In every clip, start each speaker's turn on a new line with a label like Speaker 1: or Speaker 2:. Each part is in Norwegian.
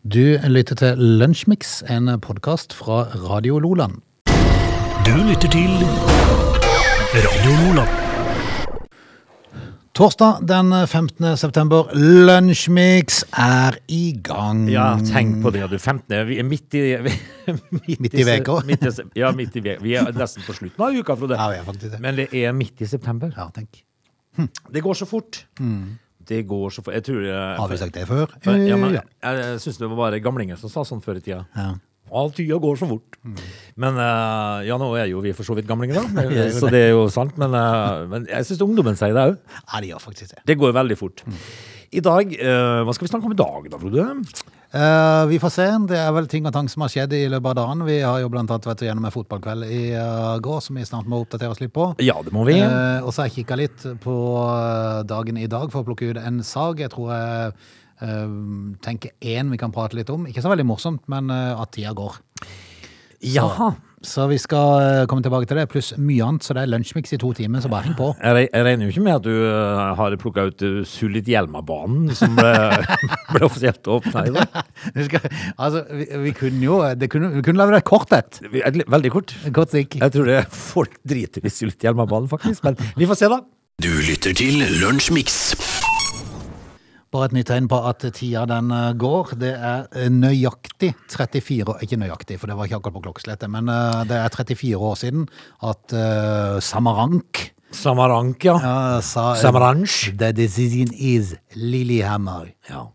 Speaker 1: Du lytter til Lunsjmix, en podkast fra Radio Loland.
Speaker 2: Du lytter til Radio Lola.
Speaker 1: Torsdag den 15. september, Lunsjmix er i gang.
Speaker 3: Ja, tenk på det, du. 15. Vi er midt i Midt,
Speaker 1: Midt i veka.
Speaker 3: midt i se- Ja, midt i veka. Vi er nesten på slutten av uka, Frode.
Speaker 1: Ja, vi er faktisk det.
Speaker 3: Men det er midt i september.
Speaker 1: Ja, tenk.
Speaker 3: Det går så fort. Det går så fort. Jeg tror jeg-
Speaker 1: Har vi sagt det før?
Speaker 3: for- ja, men,
Speaker 1: Eh,
Speaker 3: jeg jeg syns det var bare gamlinger som sa sånn før i tida.
Speaker 1: Ja. Mm.
Speaker 3: All tida går så fort. Men eh, ja, nå er jo vi for så vidt gamlinger, da.
Speaker 1: Vi er jo
Speaker 3: Så det er jo sant. Men, eh, men jeg syns ungdommen sier det òg.
Speaker 1: Ja, de gjør faktisk det.
Speaker 3: Det går veldig fort.
Speaker 1: Mm.
Speaker 3: I dag, eh, Hva skal vi snakke om i dag, da, Frode?
Speaker 1: Eh, vi får se. Det er vel ting og tang som har skjedd i løpet av dagen. Vi har jo blant annet vært gjennom en fotballkveld i eh, går, som vi snart må oppdatere oss litt på.
Speaker 3: Ja, det må vi.
Speaker 1: Eh, og så har jeg kikka litt på eh, dagen i dag for å plukke ut en sag. Jeg tror jeg eh, tenker én vi kan prate litt om. Ikke så veldig morsomt, men eh, at tida går.
Speaker 3: Ja.
Speaker 1: Så vi skal eh, komme tilbake til det, pluss mye annet. Så det er lunsjmix i to timer, så bare heng på.
Speaker 3: Jeg re- jeg regner jo ikke med at du eh, har plukka ut eh, Sulit Hjelma-banen, som ble, ble offisielt åpna i dag.
Speaker 1: Vi skal, altså, vi, vi kunne jo eh, det kunne, Vi kunne lagd et kort et.
Speaker 3: Vi- et li- Veldig kort.
Speaker 1: Et Kort stikk.
Speaker 3: Jeg tror det folk driter i Sulit Hjelma-banen, faktisk. Men vi får se, da.
Speaker 2: Du lytter til Lunsjmix.
Speaker 1: Bare et nytt tegn på at tida den eh, går. Det er eh, nøyaktig 34 år- Ikke nøyaktig, for det var ikke akkurat på klokkeslettet, men eh, det er 34 år siden at eh, Samarank
Speaker 3: Samarank, ja.
Speaker 1: Ja, sa
Speaker 3: Samaranch.
Speaker 1: The decision is Lillehammer.
Speaker 3: ja.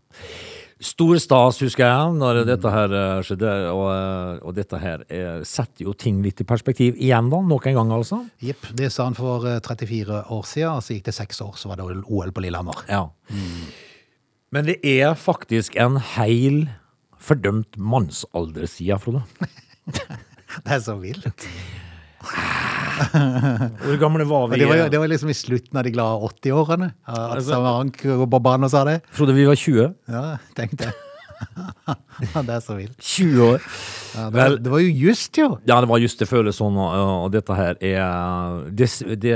Speaker 3: Stor stas, husker jeg, når dette her eh, skjedde. Og, eh, og dette her eh, setter jo ting litt i perspektiv igjen, da. Nok en gang, altså.
Speaker 1: Jepp, det sa han for eh, 34 år siden, og så gikk det seks år, så var det OL på Lillehammer.
Speaker 3: Ja. Men det er faktisk en heil fordømt mannsalder, sier jeg, Frode.
Speaker 1: Det er så vilt.
Speaker 3: Hvor gamle var
Speaker 1: Og
Speaker 3: vi?
Speaker 1: det var, jo- det var liksom i slutten av de glade 80-årene, eh, at Samarank går på banen og sa det.
Speaker 3: Frode, vi var 20.
Speaker 1: Ja, tenkte jeg. det er så vilt.
Speaker 3: 20 år.
Speaker 1: Ja, det, var, det var jo just, jo.
Speaker 3: Ja, det var just det føles sånn, og, og dette her er Det, det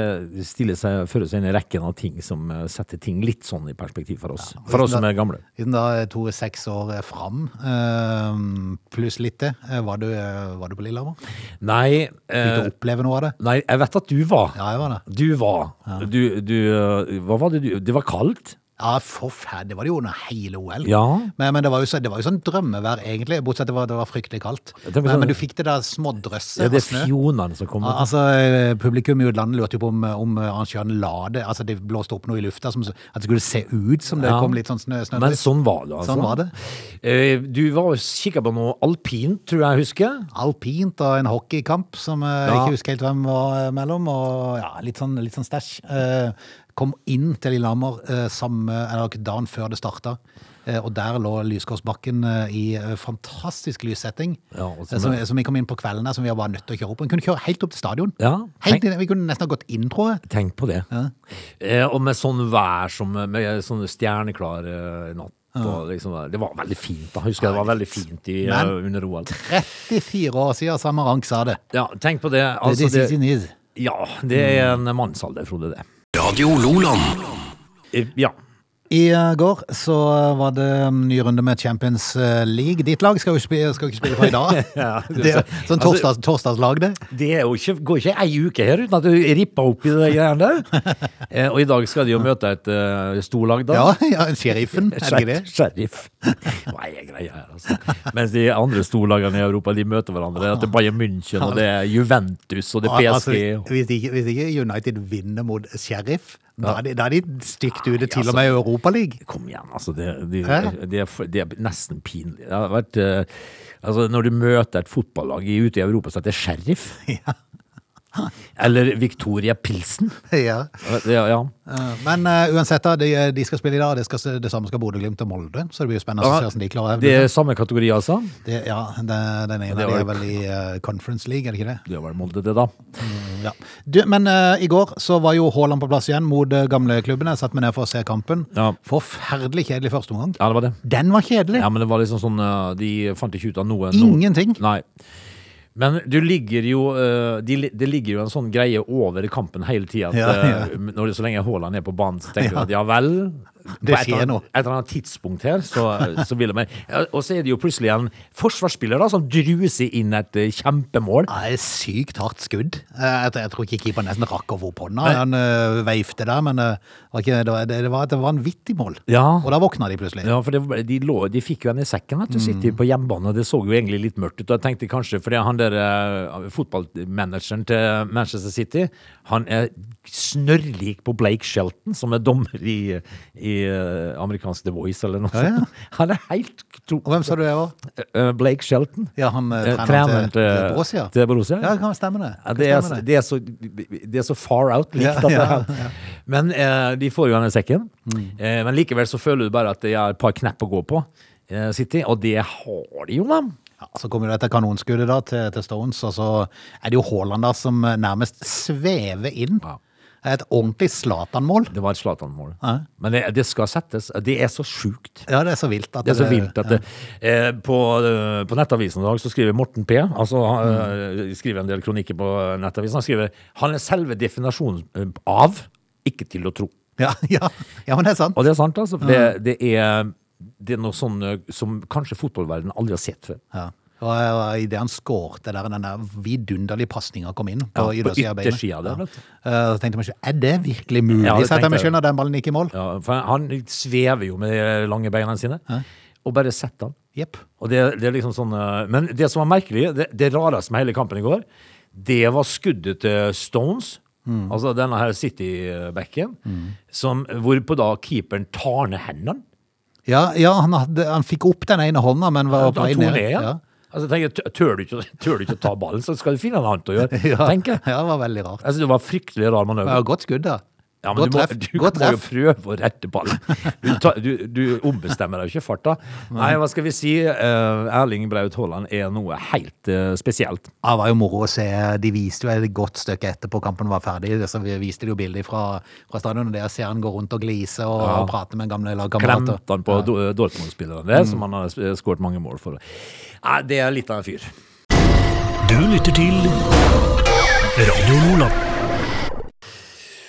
Speaker 3: stiller seg, fører seg inn i rekken av ting som eh, setter ting litt sånn i perspektiv for oss. For oss som er gamle.
Speaker 1: Siden da to seks år eh, fram, eh, pluss litt det, eh, var du, eh, var du på Lillehammer?
Speaker 3: Nei,
Speaker 1: Fikk
Speaker 3: eh,
Speaker 1: du oppleve noe av det?
Speaker 3: nei, jeg vet at du var.
Speaker 1: Ja, jeg var det.
Speaker 3: Du var. Du, du eh, Hva var det du Det var kaldt?
Speaker 1: Ja, forferdelig. Det var det jo under hele OL.
Speaker 3: Ja.
Speaker 1: Men, men det, var jo så, det var jo sånn drømmevær, egentlig, bortsett fra at det var fryktelig kaldt.
Speaker 3: Det var
Speaker 1: Men,
Speaker 3: sånn-
Speaker 1: men du fikk det der smådrøsset
Speaker 3: Ja,
Speaker 1: av
Speaker 3: det er
Speaker 1: snø.
Speaker 3: fjonene som kom.
Speaker 1: Ja, Altså, eh, Publikum i utlandet lurte jo på om, om arrangøren la det Altså, det blåste opp noe i lufta, som, at det skulle se ut som det
Speaker 3: Ja.
Speaker 1: kom litt sånn snø. snø
Speaker 3: Men sånn var det, altså.
Speaker 1: Sånn var det.
Speaker 3: Eh, Du var kikka på noe alpint, tror jeg jeg husker.
Speaker 1: Alpint og en hockeykamp som eh, jeg
Speaker 3: Ja.
Speaker 1: ikke husker helt hvem var eh, mellom, og ja, litt sånn, litt sånn stæsj. Eh, kom inn til Lillehammer eh, samme, eller dagen før det starta, eh, og der lå Lyskårsbakken eh, i eh, fantastisk lyssetting.
Speaker 3: Ja, og som-
Speaker 1: eh, som, som vi kom inn på kvelden her, som vi var bare nødt til å kjøre opp. Vi kunne kjøre helt opp til stadion.
Speaker 3: Ja,
Speaker 1: helt
Speaker 3: tenk-
Speaker 1: inn, vi kunne nesten ha gått inn, tror jeg.
Speaker 3: Tenk på det. Eh, og med sånn vær som Med sånn stjerneklar eh, natt. Og liksom, det var veldig fint, da. Husker jeg det var veldig fint i, eh,
Speaker 1: Men-
Speaker 3: under OL.
Speaker 1: 34 år siden Samarank sa det.
Speaker 3: Ja, tenk på det. Altså,
Speaker 1: det,
Speaker 3: det
Speaker 1: det, det, det.
Speaker 3: ja, det er en mannsalder, Frode, det.
Speaker 2: Radio Loland.
Speaker 3: Eh, Ja.
Speaker 1: I eh, går så var det mm, ny runde med Champions eh, League. Ditt lag skal jo spille, skal jo ikke spille fra i dag. det, er sånn torsdags, torsdagslag, det.
Speaker 3: Det er jo ikke, går ikke ei uke her uten at du ripper opp i det greiene der. Eh, og i dag skal de jo møte et eh, storlag, da.
Speaker 1: Ja, ja Sheriffen, er det ikke det?
Speaker 3: Sher- Sheriff. Hva er greia her, altså? Mens de andre storlagene i Europa de møter hverandre. At det er Bayern München, og det er Juventus, og det er
Speaker 1: Altså,
Speaker 3: PSG.
Speaker 1: hvis, ikke, hvis ikke United vinner mot Sheriff, da er de, da er de stygt ute, til
Speaker 3: altså.
Speaker 1: og med i Europaligaen.
Speaker 3: Kom igjen, altså. Det, det,
Speaker 1: Hæ?
Speaker 3: det, er, for- det er nesten pinlig. Det har vært eh, Altså, når du møter et fotballag i- ute i Europa som heter Sheriff, eller Victoria Pilsen
Speaker 1: Ja.
Speaker 3: Det, ja.
Speaker 1: Eh, Men eh, uansett, da, de, de skal spille i dag. Det, skal, det samme skal Bodø-Glimt og Molde. Så det blir jo spennende å se hvordan de klarer
Speaker 3: det
Speaker 1: det.
Speaker 3: er samme kategori, altså.
Speaker 1: Det, ja, det, den ene
Speaker 3: det
Speaker 1: de
Speaker 3: var-
Speaker 1: er vel i eh, Conference League, er det ikke det?
Speaker 3: Det var Molde, det, da.
Speaker 1: Ja. Du, men eh, i går så var jo Haaland på plass igjen mot uh, gamleklubben. Jeg satte meg ned for å se kampen.
Speaker 3: Ja.
Speaker 1: Forferdelig kjedelig første omgang.
Speaker 3: Ja, det var det.
Speaker 1: Den var kjedelig!
Speaker 3: Ja, men det var liksom sånn eh, De fant ikke ut av noe. noe-
Speaker 1: Ingenting!
Speaker 3: Nei. Men du ligger jo eh, de, li- Det ligger jo en sånn greie over kampen hele tida.
Speaker 1: Ja, ja.
Speaker 3: Så lenge Haaland er på banen, så tenker du at ja vel,
Speaker 1: Det
Speaker 3: på et
Speaker 1: skjer
Speaker 3: eller annet-
Speaker 1: noe.
Speaker 3: Et eller annet tidspunkt her, så, så vil jeg ja, Og så er det jo plutselig en forsvarsspiller da, som druser inn et eh, kjempemål.
Speaker 1: Ja, det er sykt hardt skudd. Eh, Jeg, jeg tror ikke keeperen nesten rakk over hånda. Han eh, veifte der, men eh, det var ikke- det var- det var et vanvittig mål.
Speaker 3: Ja.
Speaker 1: Og da våkna de plutselig.
Speaker 3: Ja, for det, var- de, lå, de fikk jo henne i sekken, vet du,
Speaker 1: Mm.
Speaker 3: sitter på hjemmebane. Det så jo egentlig litt mørkt ut. Og jeg tenkte kanskje, fordi han der eh, fotballmanageren til Manchester City, han er snørrlik på Blake Shelton, som er dommer i, i eh, amerikansk The Voice eller noe
Speaker 1: Ja, ja.
Speaker 3: sånt. Han er helt to,
Speaker 1: Og hvem sa du det var?
Speaker 3: eh, Blake Shelton.
Speaker 1: Ja, han eh,
Speaker 3: Eh,
Speaker 1: treneren til, til Borussia.
Speaker 3: til Borussia.
Speaker 1: Ja, det kan stemme det.
Speaker 3: Ja,
Speaker 1: Kan
Speaker 3: det, er,
Speaker 1: stemme det.
Speaker 3: det, er så, det er så far out likt
Speaker 1: Ja,
Speaker 3: at det
Speaker 1: ja, Mm.
Speaker 3: er- Men eh, de får jo han i sekken. Eh, men likevel så føler du bare at det er et par knepp å gå på, eh, City. Og det har de jo, da.
Speaker 1: Ja, så kommer jo dette kanonskuddet da til, til Stones, og så er det jo Haaland da som eh, nærmest svever inn.
Speaker 3: Ja.
Speaker 1: Et ordentlig Zlatan-mål.
Speaker 3: Det var et Zlatan-mål.
Speaker 1: Ja.
Speaker 3: Men det, det skal settes. Det er så sjukt.
Speaker 1: Ja, det er så vilt at
Speaker 3: Det er så vilt at det, eh, på, eh, på Nettavisen i dag så skriver Morten P. Altså, han
Speaker 1: Mm.
Speaker 3: eh, skriver en del kronikker på Nettavisen. Han skriver han er selve definasjonen eh, av ikke til å tro.
Speaker 1: Ja, ja, ja, men det er sant.
Speaker 3: Og det er sant, altså. For det, det, er, det er noe sånn eh, som kanskje fotballverdenen aldri har sett før.
Speaker 1: Ja. Og eh, idet han skårte der, den der vidunderlige pasninga kom inn på,
Speaker 3: Ja, på
Speaker 1: yttersida av beinet.
Speaker 3: yttersida der,
Speaker 1: Ja.
Speaker 3: vet du.
Speaker 1: Eh, Så tenkte jeg meg selv, er det virkelig mulig?
Speaker 3: Ja,
Speaker 1: setter jeg
Speaker 3: det
Speaker 1: meg
Speaker 3: tenkte jeg.
Speaker 1: selv når den ballen gikk i mål.
Speaker 3: Ja, for han svever jo med de lange beina sine. Og bare setter han.
Speaker 1: Jepp.
Speaker 3: Og det, det er liksom sånn eh, Men det som var merkelig, det, det rareste med hele kampen i går, det var skuddet til Stones.
Speaker 1: Mm.
Speaker 3: Altså denne her City-backen, som- hvorpå da keeperen tar ned hendene.
Speaker 1: Ja, ja han, hadde, han fikk opp den ene hånda, men var
Speaker 3: Han
Speaker 1: på vei
Speaker 3: tok
Speaker 1: ned.
Speaker 3: ned, ja.
Speaker 1: Ja.
Speaker 3: Altså, jeg tenker, tør- tør du, ikke, tør du ikke å ta ballen, så skal du finne noe annet å gjøre,
Speaker 1: Ja.
Speaker 3: tenker jeg.
Speaker 1: ja, det var veldig rart.
Speaker 3: Altså, det var fryktelig rar
Speaker 1: Det
Speaker 3: manøver.
Speaker 1: var jo godt skudd, da.
Speaker 3: Ja, men
Speaker 1: godt
Speaker 3: du må,
Speaker 1: treff.
Speaker 3: du
Speaker 1: godt
Speaker 3: må jo
Speaker 1: treff.
Speaker 3: prøve å rette ballen. Du, ta, du, du ombestemmer deg jo ikke i farta. Nei, hva skal vi si? Eh, Erling Braut Haaland er noe helt eh, spesielt.
Speaker 1: Ja, Det Ah, var jo moro å se. De viste jo et godt stykke etterpå kampen var ferdig. Så vi viste de jo bilder fra, fra stadion, og det å se han gå rundt og glise og
Speaker 3: Ja.
Speaker 1: prate med gamle
Speaker 3: Klemte
Speaker 1: lagkamerater.
Speaker 3: han på Do- Dortmund-spilleren der, som
Speaker 1: Mm.
Speaker 3: han har eh, skåret mange mål for. Nei, det er litt av en fyr.
Speaker 2: Du lytter til Radio Loland.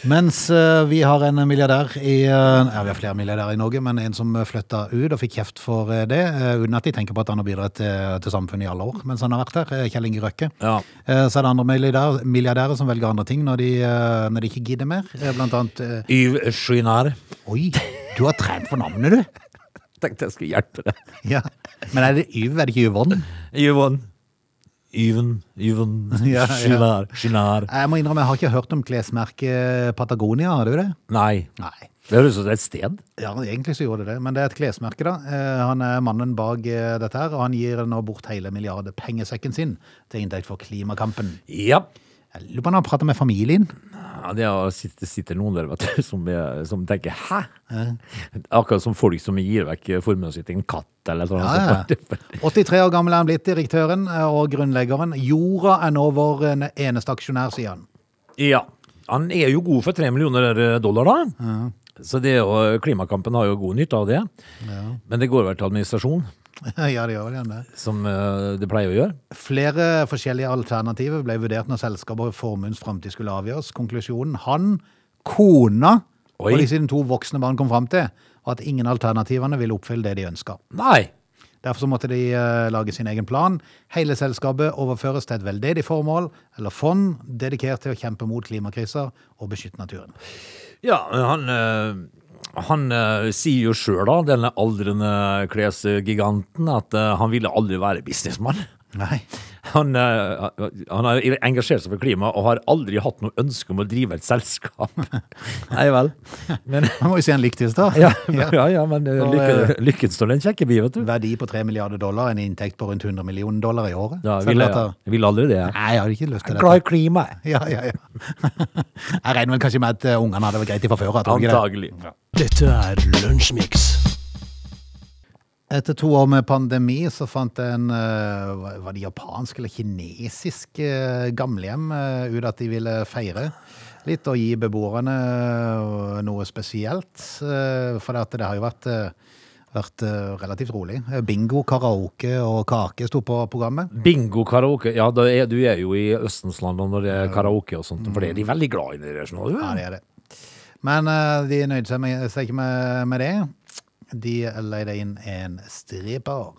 Speaker 1: Mens eh, vi har en milliardær i eh, Ja, vi har flere milliardærer i Norge, men en som flytta ut og fikk kjeft for eh, det, eh, uten at de tenker på at han har bidratt til, til samfunnet i alle år mens han har vært der, eh, Kjell Inge Røkke.
Speaker 3: Ja.
Speaker 1: Eh, Så er det andre milliardærer, milliardærer som velger andre ting når de, eh, når de ikke gidder mer. Eh, Blant annet eh,
Speaker 3: Yves Chouinard.
Speaker 1: Oi, du har trent for navnet, du!
Speaker 3: Tenkte jeg skulle hjelpe deg.
Speaker 1: Ja. Men er det Yv, er det ikke Yvonne?
Speaker 3: Yvonne. Yven, Yven,
Speaker 1: Ja, ja.
Speaker 3: Chouinard, Chouinard.
Speaker 1: Jeg må innrømme, jeg har ikke hørt om klesmerket Patagonia, har du det?
Speaker 3: Nei.
Speaker 1: Nei.
Speaker 3: Det høres ut som det er et sted.
Speaker 1: Ja, egentlig så gjorde det det, men det er et klesmerke, da. Eh, Han er mannen bak eh, dette her, og han gir nå bort hele milliardpengesekken sin til inntekt for klimakampen.
Speaker 3: Ja.
Speaker 1: Jeg lurer på om han prater med familien?
Speaker 3: Ja, det er- sitter, sitter noen der vet du, som, er, som tenker 'hæ?' Akkurat som folk som gir vekk formuen sin til en katt eller sånn. noe
Speaker 1: Ja,
Speaker 3: sånt.
Speaker 1: ja. 83 år gammel er han blitt, direktøren eh, og grunnleggeren. Jorda er nå vår eh, eneste aksjonær, sier han.
Speaker 3: Ja. Han er jo god for tre millioner eh, dollar, da. Så det, er jo- eh, klimakampen har jo god nytte av det. Men det går vel til administrasjon,
Speaker 1: ja, det gjør vel gjerne det.
Speaker 3: som eh, det pleier å gjøre.
Speaker 1: Flere forskjellige alternativer ble vurdert når selskapet og formuens framtid skulle avgjøres. Konklusjonen han, kona
Speaker 3: Oi.
Speaker 1: og de sine to voksne barn kom fram til, var at ingen alternativene ville oppfylle det de ønska.
Speaker 3: Nei!
Speaker 1: Derfor så måtte de eh, lage sin egen plan. Hele selskapet overføres til et veldedig formål eller fond dedikert til å kjempe mot klimakriser og beskytte naturen.
Speaker 3: Ja, men han, eh, han eh, sier jo sjøl, da, denne aldrende klesgiganten, at eh, han ville aldri være businessmann.
Speaker 1: Nei.
Speaker 3: Han, eh, han har engasjert seg for klima og har aldri hatt noe ønske om å drive et selskap. Nei vel. Men,
Speaker 1: Man må jo si han likte i stad.
Speaker 3: ja, ja, ja, men eh,
Speaker 1: Og, eh,
Speaker 3: lykke, lykken står den kjekke bi, vet du.
Speaker 1: Verdi på 3 milliarder dollar, en inntekt på rundt 100 millioner dollar i året.
Speaker 3: Ja,
Speaker 1: Selv
Speaker 3: vil,
Speaker 1: at
Speaker 3: jeg,
Speaker 1: det-
Speaker 3: vil aldri det. jeg.
Speaker 1: Nei, jeg hadde ikke lyst til
Speaker 3: Jeg
Speaker 1: det.
Speaker 3: er glad i klimaet.
Speaker 1: Ja, ja, ja. Jeg regner vel kanskje med at eh, ungene hadde det greit fra før. at de ikke det?
Speaker 3: Antagelig.
Speaker 2: Dette er Lunsjmix.
Speaker 1: Etter to år med pandemi så fant en eh, hva- Var det japansk eller kinesisk eh, gamlehjem eh, ut at de ville feire litt og gi beboerne eh, noe spesielt? eh, For det at det har jo vært, eh, vært eh, relativt rolig. Eh, Bingo, karaoke og kake sto på programmet.
Speaker 3: Bingo, karaoke. Ja, da er, du er jo i Østensland når det er karaoke og sånt, for det er de veldig glad i. det der, sånn. skjønner du.
Speaker 1: Ja, det er det. Men eh, de nøyde seg, med, seg ikke med, med det. De leide inn en striper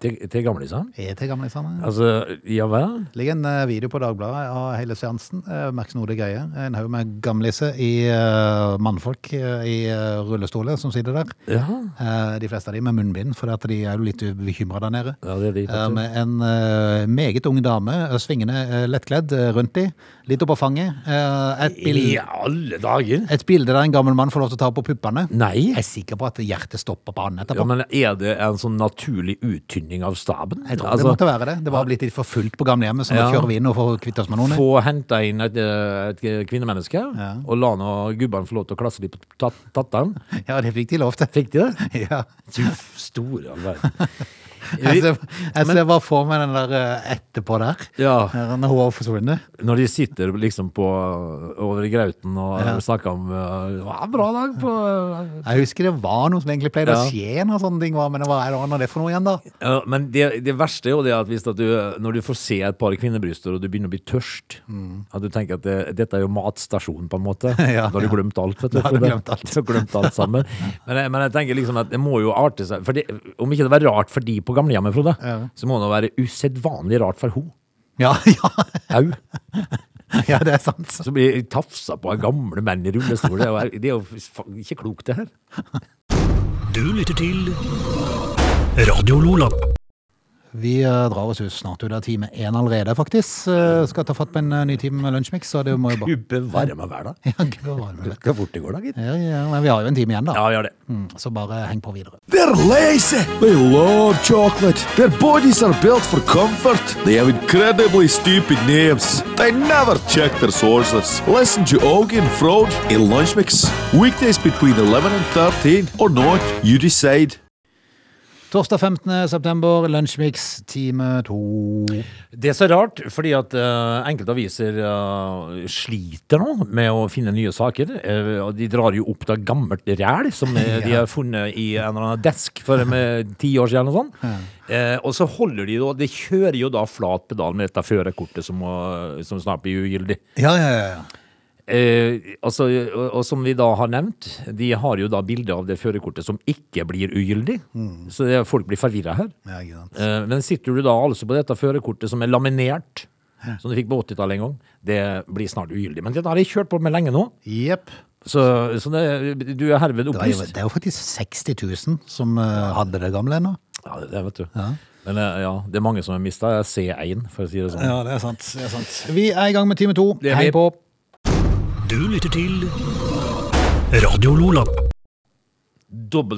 Speaker 3: Til, til gamlisene?
Speaker 1: Er til gamlisene.
Speaker 3: Altså, ja vel?
Speaker 1: Det ligger en eh, video på Dagbladet av hele seansen. eh, Merk snodige greier. En haug med gamliser i eh, mannfolk eh, i eh, rullestoler som sitter der.
Speaker 3: Ja,
Speaker 1: Eh, De fleste av de med munnbind, for at de er jo litt bekymra der nede.
Speaker 3: ja det er de.
Speaker 1: Eh,
Speaker 3: vet du.
Speaker 1: Med en eh, meget ung dame, eh, svingende eh, lettkledd eh, rundt de, litt oppå fanget. Eh, Et, bil
Speaker 3: I alle dager!
Speaker 1: et bilde der en gammel mann får lov til å ta på puppene.
Speaker 3: Nei!
Speaker 1: Jeg er sikker på at hjertet stopper på han
Speaker 3: Ja,
Speaker 1: etterpå.
Speaker 3: men Er det en sånn naturlig uttynning av staben?
Speaker 1: Jeg tror
Speaker 3: Altså,
Speaker 1: det måtte være det. Det var blitt litt for fullt på gamlehjemmet, så nå
Speaker 3: Ja.
Speaker 1: kjører vi inn og får kvitte oss med noen.
Speaker 3: Få henta inn et, eh, et kvinnemenneske, og la nå gubbene få lov til å klasse litt på tat- tatteren.
Speaker 1: Ja, det fikk de lov til.
Speaker 3: Fikk de det?
Speaker 1: Ja.
Speaker 3: Du store all verden.
Speaker 1: Jeg ser, jeg ser bare for meg den der eh, etterpå der.
Speaker 3: Ja,
Speaker 1: Her Når hun har forsvunnet.
Speaker 3: når de sitter liksom på over i grauten og snakker om eh, «Det var en bra dag på eh».
Speaker 1: Jeg husker det var noe som egentlig pleide
Speaker 3: Ja.
Speaker 1: å skje når sånne ting var, men hva er det nå det for noe igjen, da?
Speaker 3: Ja, Men det, det verste er jo det at hvis at du, når du får se et par kvinnebryster og du begynner å bli tørst, at du tenker at det, dette er jo matstasjonen på en måte,
Speaker 1: Mm. Ja,
Speaker 3: da har du
Speaker 1: ja.
Speaker 3: glemt alt, vet du.
Speaker 1: Da har du
Speaker 3: for det-
Speaker 1: glemt alt.
Speaker 3: Du har glemt alt sammen. Men jeg, men jeg tenker liksom at det må jo arte seg, for det, om ikke det var rart for de på gamlehjemmet, Frode,
Speaker 1: Ja.
Speaker 3: så må det være usedvanlig rart for hun.
Speaker 1: Ja, ja,
Speaker 3: Au.
Speaker 1: ja, det er sant.
Speaker 3: Som blir tafsa på av gamle menn i rullestol. Det er jo- det er jo fa- ikke klokt, det her.
Speaker 2: Du lytter til Radio Lola.
Speaker 1: Vi eh, drar oss ut snart ut av time én allerede, faktisk. Eh, skal ta fatt på en eh, ny time med Lunsjmix, så det må jo bare
Speaker 3: Du bevarer meg hver dag.
Speaker 1: ja, gud, hva var det?
Speaker 3: Hvor fort det går, da, gitt.
Speaker 1: ja, ja, men vi har jo en time igjen, da.
Speaker 3: Ja, gjør det.
Speaker 1: Mm, så bare heng på videre.
Speaker 4: They're lazy. They love chocolate. Their bodies are built for comfort. They have incredibly stupid names. They never check their sources. Listen to Augie and Frode in Lunch Mix. Weekdays between 11 and 13 or not, you decide.
Speaker 1: Torsdag 15. september, Lunsjmix time to.
Speaker 3: Det er så rart, fordi at eh, enkelte aviser eh, sliter nå med å finne nye saker. eh, og de drar jo opp da gammelt ræl som eh, de har funnet i en eller annen desk for med ti år siden. Og, sånn. Eh, og så holder de da De kjører jo da flat pedal med dette førerkortet som, må- som snart blir ugyldig.
Speaker 1: Ja, ja, ja, ja.
Speaker 3: Eh, altså, og, og som vi da har nevnt, de har jo da bilde av det førerkortet som ikke blir ugyldig. Så det, folk blir forvirra her.
Speaker 1: Ja, ikke sant.
Speaker 3: Eh, Men sitter du da altså på dette førerkortet som er laminert, som du fikk på 80-tallet en gang, det blir snart ugyldig. Men dette har jeg kjørt på med lenge nå,
Speaker 1: Jepp.
Speaker 3: så, så det, du er
Speaker 1: Det er,
Speaker 3: herved
Speaker 1: jo,
Speaker 3: opplyst.
Speaker 1: det er jo faktisk 60 000 som eh, hadde det gamle ennå.
Speaker 3: Ja, det, det vet du. Men eh, ja, det er mange som har mista C1, for å si det sånn.
Speaker 1: det er sant. Vi er i gang med time to.
Speaker 3: er
Speaker 1: Hei
Speaker 3: vi.
Speaker 1: på.
Speaker 2: Du lytter til Radio Lola.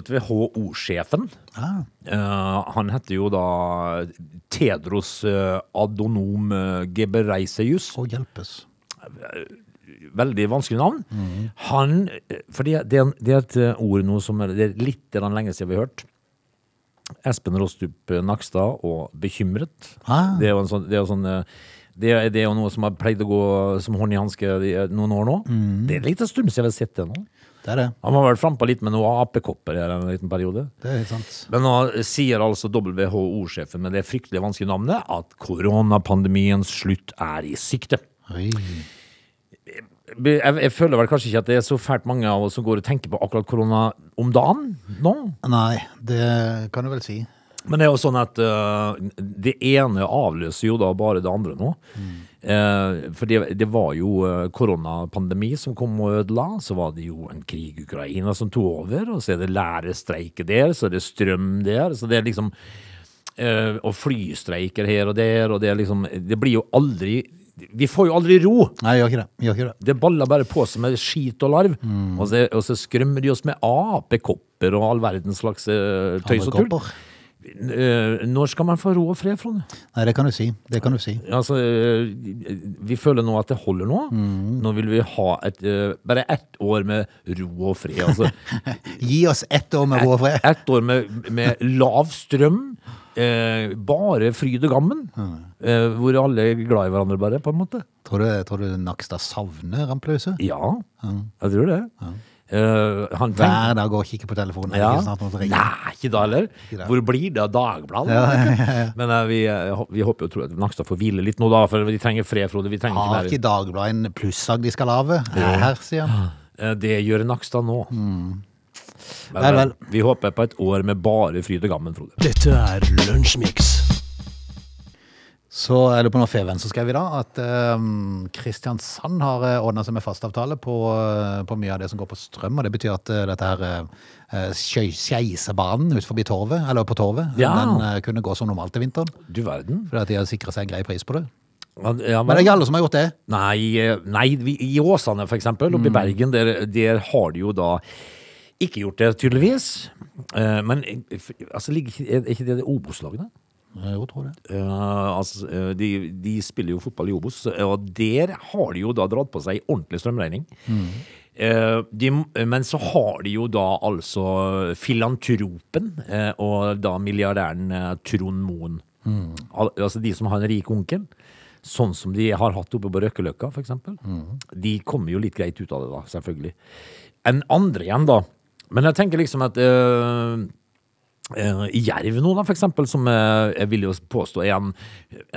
Speaker 3: WHO-sjefen,
Speaker 1: Ah,
Speaker 3: eh, han heter jo da Tedros eh, Adonom eh, Gebreiseus.
Speaker 1: så hjelpes.
Speaker 3: veldig vanskelig navn. Han, for det, det, er en- det er et eh, ord nå som er, det er litt grann lenge siden vi har hørt. Espen Rostrup eh, Nakstad og Bekymret.
Speaker 1: Ah.
Speaker 3: Det er jo en sånn, det er jo sånn eh, det er, det er jo noe som har pleid å gå som hånd i hanske i, eh, noen år nå. Det er litt en stund siden jeg har sett det nå.
Speaker 1: Det er det.
Speaker 3: Han var vel frampå litt med noen apekopper her en liten periode.
Speaker 1: Det er helt sant.
Speaker 3: Men nå sier altså WHO-sjefen med det fryktelig vanskelige navnet at koronapandemiens slutt er i sikte.
Speaker 1: Oi.
Speaker 3: Be- jeg, jeg føler vel kanskje ikke at det er så fælt mange av oss som går og tenker på akkurat korona om dagen nå.
Speaker 1: Nei, det kan du vel si.
Speaker 3: Men det er jo sånn at øh, det ene avløser jo da bare det andre nå. Eh, for det, det var jo øh, koronapandemi som kom og ødela, så var det jo en krig i Ukraina som tok over, og så er det lærerstreike der, så er det strøm der, så det er liksom øh, Og flystreiker her og der, og det er liksom Det blir jo aldri Vi får jo aldri ro!
Speaker 1: Nei, gjør ikke det. Gjør ikke det.
Speaker 3: Det baller bare på seg med skit og larv. Og, så, og så skrømmer de oss med apekopper og all verdens slags eh, tøys og tull.
Speaker 1: Apekopper.
Speaker 3: Eh, når skal man få ro og fred, Frode?
Speaker 1: Nei, det kan du si. Det kan du si.
Speaker 3: Altså, eh, vi føler nå at det holder nå. Nå vil vi ha et, eh, bare ett år med ro og fred. Altså,
Speaker 1: Gi oss ett år med ro og fred.
Speaker 3: ett år med, med lav strøm. eh, bare fryd og gammen. eh, hvor alle er glad i hverandre, bare, på en måte.
Speaker 1: Tror du, tror du Nakstad savner rampelyset?
Speaker 3: Ja, jeg tror det. Eh, han tenker
Speaker 1: Hver dag går og kikker på telefonen. Er det
Speaker 3: Ja.
Speaker 1: ikke snart noen som ringer?
Speaker 3: Nei, ikke da heller.
Speaker 1: det.
Speaker 3: Hvor blir det av Dagbladet? Men eh, vi, eh, hå- vi håper jo og tror at Nakstad får hvile litt nå, da, for vi trenger fred, Frode. Vi trenger
Speaker 1: Har ikke
Speaker 3: ikke mer.
Speaker 1: Dagbladet en plussag de skal lave? Er Her, sier han.
Speaker 3: Eh, Det gjør Nakstad nå.
Speaker 1: Mm.
Speaker 3: Men,
Speaker 1: Vel,
Speaker 3: men,
Speaker 1: vel.
Speaker 3: vi håper på et år med bare fryd og gammen, Frode.
Speaker 2: Dette er Lunsjmix.
Speaker 1: Så er det på Norfeven så skrev vi da at eh, Kristiansand har uh, ordna seg med fastavtale på, eh, på mye av det som går på strøm. Og det betyr at eh, dette her eh, skøy- Skeisebanen ut forbi torvet, eller på torvet,
Speaker 3: Ja.
Speaker 1: den eh, kunne gå som normalt til vinteren.
Speaker 3: Du verden.
Speaker 1: Fordi at de har sikra seg en grei pris på det.
Speaker 3: Han- ja,
Speaker 1: Men det er ikke alle som har gjort det.
Speaker 3: Nei, eh, nei vi, i Åsane for eksempel,
Speaker 1: Mm.
Speaker 3: oppe i Bergen, der, der har de jo da ikke gjort det, tydeligvis. Eh, men eh, f- altså, ligger ikke- er er ikke det det Obos-lagene?
Speaker 1: Jo, tror det.
Speaker 3: Eh, altså, eh, de, de spiller jo fotball i Obos, eh, og der har de jo da dratt på seg ordentlig strømregning. Eh, de, men så har de jo da altså filantropen eh, og da milliardæren eh, Trond Moen. Al altså de som har en rik onkel, sånn som de har hatt oppe på Røkkeløkka f.eks. De kommer jo litt greit ut av det, da, selvfølgelig. Enn andre igjen, da. Men jeg tenker liksom at eh, Eh, I Jerv nå, da, for eksempel, som eh, jeg vil jo påstå er en,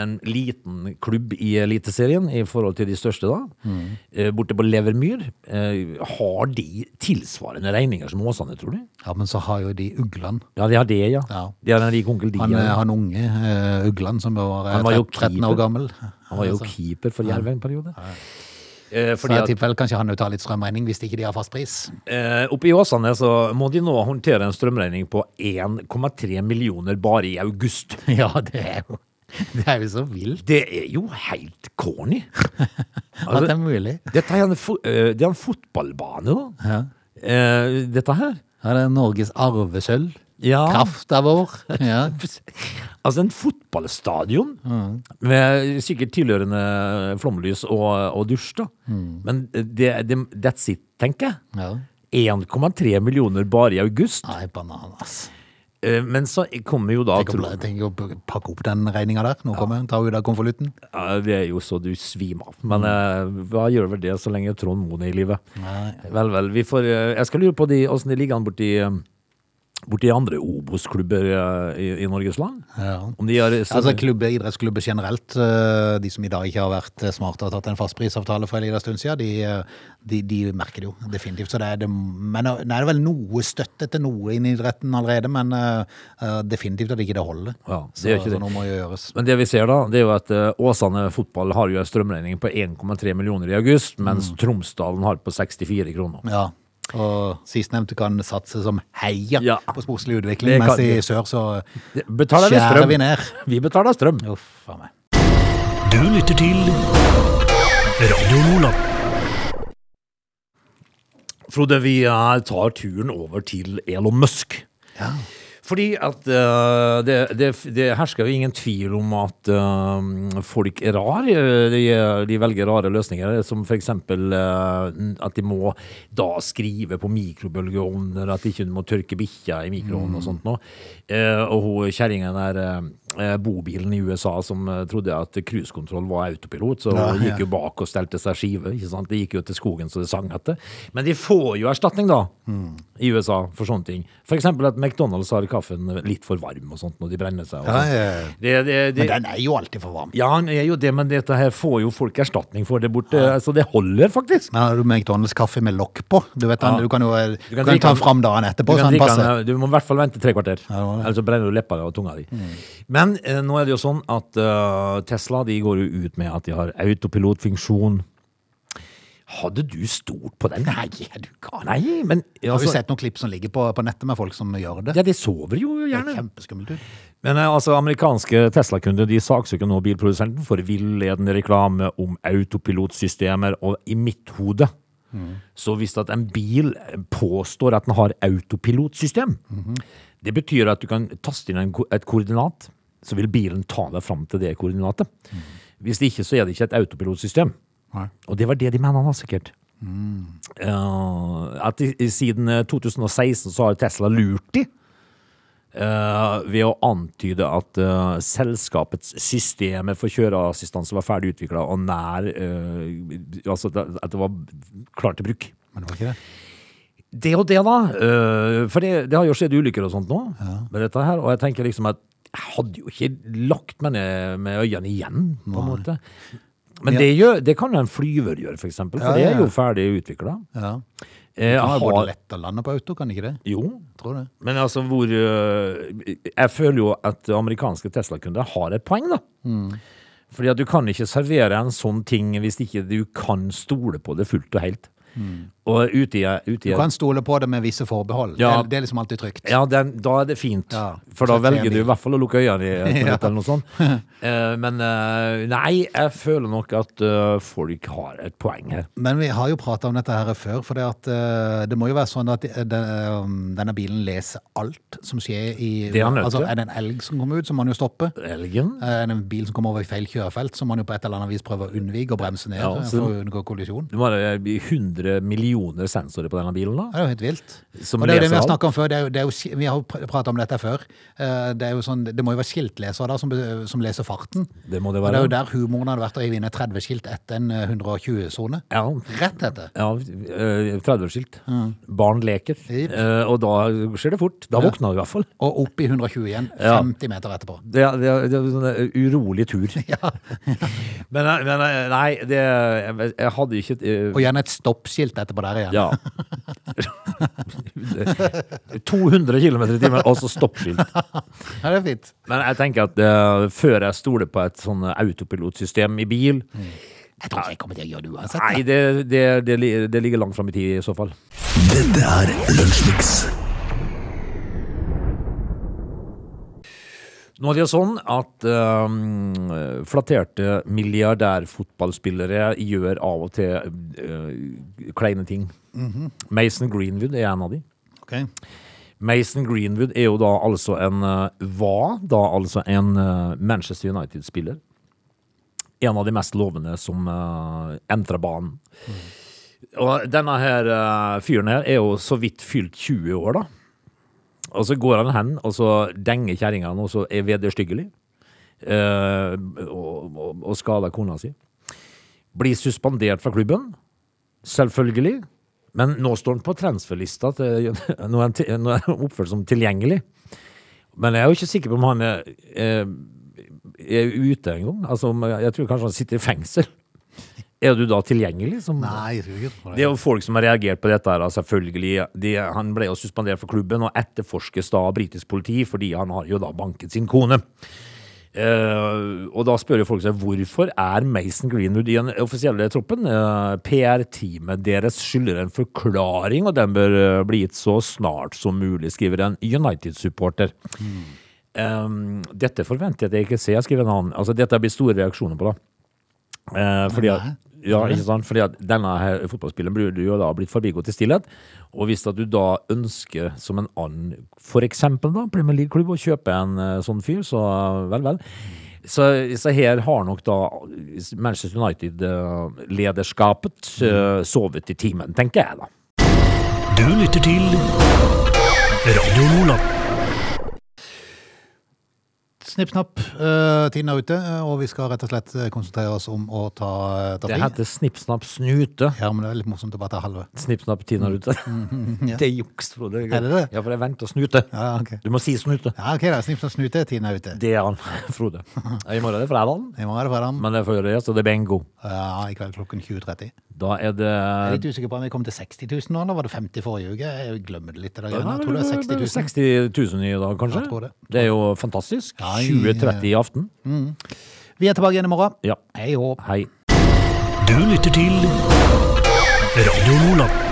Speaker 3: en liten klubb i Eliteserien i forhold til de største, da.
Speaker 1: Mm.
Speaker 3: Eh, borte på Levermyr. Eh, har de tilsvarende regninger som Åsane, tror du?
Speaker 1: Ja, men så har jo de Ugland.
Speaker 3: Ja, de har det, ja.
Speaker 1: Ja.
Speaker 3: De har en rik onkel, de.
Speaker 1: Han,
Speaker 3: ja.
Speaker 1: eh, han unge eh, Ugland som var, eh,
Speaker 3: Han var jo
Speaker 1: 13 år
Speaker 3: keeper.
Speaker 1: gammel.
Speaker 3: Han var jo
Speaker 1: Altså,
Speaker 3: keeper for Jerv en periode. Eh,
Speaker 1: Så
Speaker 3: fordi
Speaker 1: jeg
Speaker 3: at
Speaker 1: tipper vel kanskje han jo tar litt strømregning hvis ikke de har fast pris.
Speaker 3: eh, Oppe i Åsane så må de nå håndtere en strømregning på 1,3 millioner bare i august.
Speaker 1: Ja, det er jo, det er jo så vilt
Speaker 3: Det er jo helt corny.
Speaker 1: at det er mulig.
Speaker 3: Dette er en, fo- eh, det er en fotballbane, da.
Speaker 1: Ja.
Speaker 3: Eh, Dette her.
Speaker 1: Ja, det er Norges arvesølv.
Speaker 3: Ja.
Speaker 1: Krafta vår. Ja.
Speaker 3: Altså en fotballstadion med sikkert tilhørende flomlys og, og dusj, da. Men det, det, that's it, tenker jeg.
Speaker 1: ja.
Speaker 3: 1,3 millioner bare i august.
Speaker 1: Nei, banan, ass.
Speaker 3: Eh, Men så kommer jo da
Speaker 1: Jeg
Speaker 3: tro-
Speaker 1: tenker å p- pakke opp den regninga der. Nå kommer jeg, tar ut av konvolutten.
Speaker 3: Ja, Det er jo så du svimer av. Men eh, hva gjør vel det så lenge Trond Moen er i live? Vel, vel. Vi får, eh, jeg skal lure på de, åssen det ligger an borti, eh, borti andre Obos-klubber eh, i, i Norges land.
Speaker 1: Ja.
Speaker 3: Om de har
Speaker 1: Altså klubber, idrettsklubber generelt, øh, de som i dag ikke har vært øh, smarte og tatt en fastprisavtale for en liten stund siden, de, øh, de, de merker det jo definitivt. Så det er det, men øh, nå er det vel noe støtte til noe innen idretten allerede, men øh, øh, definitivt at ikke det holder.
Speaker 3: Ja, det
Speaker 1: så,
Speaker 3: gjør ikke det.
Speaker 1: så noe må jo gjøres.
Speaker 3: Men det vi ser da, det er jo at eh, Åsane fotball har jo en strømregning på 1,3 millioner i august, mens
Speaker 1: Mm.
Speaker 3: Tromsdalen har på 64 kroner.
Speaker 1: Ja. Og sistnevnte kan satse som heier
Speaker 3: Ja.
Speaker 1: på sportslig
Speaker 3: Det
Speaker 1: utvikling,
Speaker 3: kan
Speaker 1: mens i
Speaker 3: de.
Speaker 1: sør så
Speaker 3: Det- Betaler vi
Speaker 1: Skjærer
Speaker 3: strøm?
Speaker 1: vi ned.
Speaker 3: Vi betaler strøm.
Speaker 1: Uff a meg.
Speaker 2: Du lytter til Radio Lola.
Speaker 3: Frode, vi eh, tar turen over til Elon Musk. Fordi at eh, det, det, det hersker jo ingen tvil om at eh, folk er rar. Eh, De, de velger rare løsninger, som f.eks. Uh, at de må da skrive på mikrobølgeovner, at de ikke må tørke bikkja i mikroovnen
Speaker 1: Mm.
Speaker 3: og sånt noe. Eh, og hun kjerringa der, eh, bobilen i USA som eh, trodde at cruisekontroll var autopilot, så
Speaker 1: Ja,
Speaker 3: hun
Speaker 1: ja.
Speaker 3: gikk jo bak og stelte seg skive. ikke sant? Det gikk jo til skogen så det sang etter. Men de får jo erstatning, da, i USA, for sånne ting. For eksempel at McDonald's har kaffen litt for varm og sånt når de brenner seg. Og
Speaker 1: Ja,
Speaker 3: sånt.
Speaker 1: ja, ja.
Speaker 3: Det, det, det,
Speaker 1: Men den er jo alltid for varm.
Speaker 3: ja, han er jo det, men dette her får jo folk erstatning for det borte, så det holder faktisk.
Speaker 1: Men har du McDonald's-kaffe med lokk på? Du vet, den,
Speaker 3: Ja.
Speaker 1: du kan jo eh, du
Speaker 3: kan
Speaker 1: kan
Speaker 3: drikke
Speaker 1: ta
Speaker 3: den-
Speaker 1: den fram dagen
Speaker 3: Du,
Speaker 1: etterpå,
Speaker 3: kan
Speaker 1: så den
Speaker 3: drikke
Speaker 1: passer.
Speaker 3: den, du må i hvert fall vente tre kvarter,
Speaker 1: Ja, det Mm. var det.
Speaker 3: ellers så brenner du leppa og tunga di. Men eh, nå er det jo sånn at eh, Tesla de går jo ut med at de har autopilotfunksjon. Hadde du stolt på den? Nei, er du gal? Nei, men
Speaker 1: Har du
Speaker 3: altså,
Speaker 1: sett noen klipp som ligger på, på nettet med folk som gjør det?
Speaker 3: ja, de sover jo
Speaker 1: Det er
Speaker 3: gjerne.
Speaker 1: kjempeskummelt ut.
Speaker 3: Men eh, altså, amerikanske Tesla-kunder de saksøker nå bilprodusenten for villedende reklame om autopilotsystemer og i mitt hode. Så hvis at en bil eh, påstår at den har autopilotsystem, det betyr at du kan taste inn en, ko- et koordinat, så vil bilen ta deg fram til det koordinatet. Hvis ikke, så er det ikke et autopilotsystem.
Speaker 1: Nei.
Speaker 3: Og det var det de mener da, sikkert. Eh, at i- i- siden eh, 2016 så har Tesla lurt de eh, ved å antyde at eh, selskapets systemer for kjøreassistanse var ferdig utvikla og nær eh, Altså at det- at det var klart til bruk.
Speaker 1: Men det var ikke det.
Speaker 3: Det og det, da. eh, for det, det har jo skjedd ulykker og sånt nå med dette her. Og jeg tenker liksom at jeg hadde jo ikke lagt meg ned med øynene igjen, på en måte. Men det, gjør, det kan jo en flyver gjøre, for eksempel, for
Speaker 1: Ja, ja,
Speaker 3: det er jo
Speaker 1: ja.
Speaker 3: ferdig utvikla.
Speaker 1: Ja. Det
Speaker 3: Eh,
Speaker 1: er
Speaker 3: har-
Speaker 1: både lett å lande på auto, kan ikke det?
Speaker 3: jo,
Speaker 1: Tror det.
Speaker 3: men altså hvor øh, Jeg føler jo at amerikanske Tesla-kunder har et poeng, da.
Speaker 1: Mm.
Speaker 3: Fordi at du kan ikke servere en sånn ting hvis ikke du kan stole på det fullt og helt. Og ute i, ute i
Speaker 1: Mm. Du kan stole på det med visse forbehold.
Speaker 3: Ja.
Speaker 1: Det, er, det er liksom alltid trygt.
Speaker 3: ja, den, da er det fint.
Speaker 1: Ja,
Speaker 3: For da
Speaker 1: sett deg i
Speaker 3: velger
Speaker 1: en
Speaker 3: du i
Speaker 1: bil.
Speaker 3: hvert fall å lukke øynene i- på
Speaker 1: Ja.
Speaker 3: nettet eller noe sånt. Eh, men eh, nei, jeg føler nok at eh, folk har et poeng her.
Speaker 1: Men vi har jo prata om dette her før, for det, at, eh, det må jo være sånn at eh, den, eh, denne bilen leser alt som skjer i
Speaker 3: Det er han nødt
Speaker 1: altså,
Speaker 3: til.
Speaker 1: Er det en elg som kommer ut, så må han jo stoppe.
Speaker 3: Elgen?
Speaker 1: Eh, Er det en bil som kommer over i feil kjørefelt, så må han jo på et eller annet vis prøve å unnvike og bremse ned
Speaker 3: Ja,
Speaker 1: eh,
Speaker 3: så-
Speaker 1: for å unngå kollisjon.
Speaker 3: Du må ha eh, 100 millioner sensorer på denne bilen, da.
Speaker 1: Det er jo helt vilt.
Speaker 3: Som
Speaker 1: og det er jo det
Speaker 3: leser
Speaker 1: vi har
Speaker 3: alt.
Speaker 1: snakket om før. Det er jo, det er jo, ski- vi har jo prata om dette før. Eh, Det, er jo sånn, det må jo være skiltlesere da, som, be- som leser farten.
Speaker 3: Det må det
Speaker 1: Og det er
Speaker 3: være.
Speaker 1: jo der humoren hadde vært å hive inn et 30-skilt etter en eh, 120-sone.
Speaker 3: Ja,
Speaker 1: Rett etter.
Speaker 3: Ja, eh, 30-årsskilt. Barn leker.
Speaker 1: Jipp.
Speaker 3: Eh, Og da skjer det fort. Da våkner du i hvert fall.
Speaker 1: Og opp i 120 igjen,
Speaker 3: Ja.
Speaker 1: 50 meter etterpå.
Speaker 3: Det er, det er, det er en sånn eh, urolig tur. men, eh, men eh, nei, det Jeg, jeg hadde ikke eh,
Speaker 1: Og gjerne et stoppskilt etterpå der igjen.
Speaker 3: Ja. 200 km i timen, og så stoppskilt.
Speaker 1: Ja, det er fint.
Speaker 3: Men jeg tenker at eh, før jeg stoler på et sånn autopilotsystem i bil
Speaker 1: Jeg tror ikke jeg kommer til å gjøre det uansett.
Speaker 3: Nei, det, det, det, li- det ligger langt fram i tid i så fall.
Speaker 2: Dette er Lunsjmix.
Speaker 3: Nå er det jo sånn at øhm, flatterte milliardærfotballspillere gjør av og til øh, kleine ting. Mason Greenwood er en av de.
Speaker 1: Ok.
Speaker 3: Mason Greenwood er jo da altså en øh, var da altså en øh, Manchester United-spiller. En av de mest lovende som øh, entrer banen. Og denne her øh, fyren her er jo så vidt fylt 20 år, da. Og så går han hen, og så denger kjerringa han, og så er vederstyggelig. Eh, og, og, og skader kona si. Blir suspendert fra klubben, selvfølgelig. Men nå står han på transferlista. Til, nå, er han til, nå er han oppført som tilgjengelig. Men jeg er jo ikke sikker på om han er, er, er ute engang. Altså, om- jeg tror kanskje han sitter i fengsel. Er du da tilgjengelig? Som,
Speaker 1: Nei, jeg tror ikke på
Speaker 3: det
Speaker 1: det.
Speaker 3: er jo folk som har reagert på dette, her, da, selvfølgelig. De, han ble jo suspendert for klubben og etterforskes da av britisk politi, fordi han har jo da banket sin kone. Eh, og da spør jo folk seg hvorfor er Mason Greenwood i den offisielle troppen? Eh, PR-teamet deres skylder en forklaring, og den bør eh, bli gitt så snart som mulig, skriver en United-supporter. Eh, dette forventer jeg at jeg ikke ser, skriver en annen. Altså, dette blir store reaksjoner på, da. Eh, fordi at, ja, ikke sant? Fordi at denne her fotballspilleren burde jo da blitt forbigått i stillhet. Og hvis at du da ønsker som en annen, for eksempel da, Premier League-klubb, å kjøpe en eh, sånn fyr, så eh, vel, vel. Så, så her har nok da Manchester United-lederskapet eh, sovet i timen, tenker jeg da.
Speaker 2: Du lytter til Radio Nordland.
Speaker 1: Snipp, snapp. eh, tiden er ute, eh, og vi skal rett og slett eh, konsentrere oss om å ta, eh, ta
Speaker 3: Det
Speaker 1: fri.
Speaker 3: heter snipp, snapp, snute.
Speaker 1: Ja, men det er litt morsomt å bare ta halve.
Speaker 3: Snipp, snapp, tiner ute.
Speaker 1: Mhm, ja.
Speaker 3: Det er juks, Frode.
Speaker 1: Er det det?
Speaker 3: Ja, for jeg venter å snute.
Speaker 1: Ja, ok.
Speaker 3: Du må si snute.
Speaker 1: Ja, ok da. Snipp, snapp, snute. Tiden er ute.
Speaker 3: Det er han, Frode. I morgen er det fredagen.
Speaker 1: I morgen er det fredag.
Speaker 3: Men det er før det, så det er bingo.
Speaker 1: Ja, i kveld klokken 20.30.
Speaker 3: Da er det
Speaker 1: Jeg er litt usikker på om vi kom til 60 000 nå, eller var det 50 forrige uke? Jeg glemmer det litt. i dag, Janne. Jeg tror det er 60 000.
Speaker 3: 60 000 i dag, kanskje?
Speaker 1: Jeg tror det.
Speaker 3: er jo fantastisk.
Speaker 1: Ja, i-
Speaker 3: 20.30 i aften.
Speaker 1: Vi er tilbake igjen i morgen.
Speaker 3: Ja.
Speaker 1: Hei og håp.
Speaker 3: Hei.
Speaker 2: Du lytter til Radio Nordland.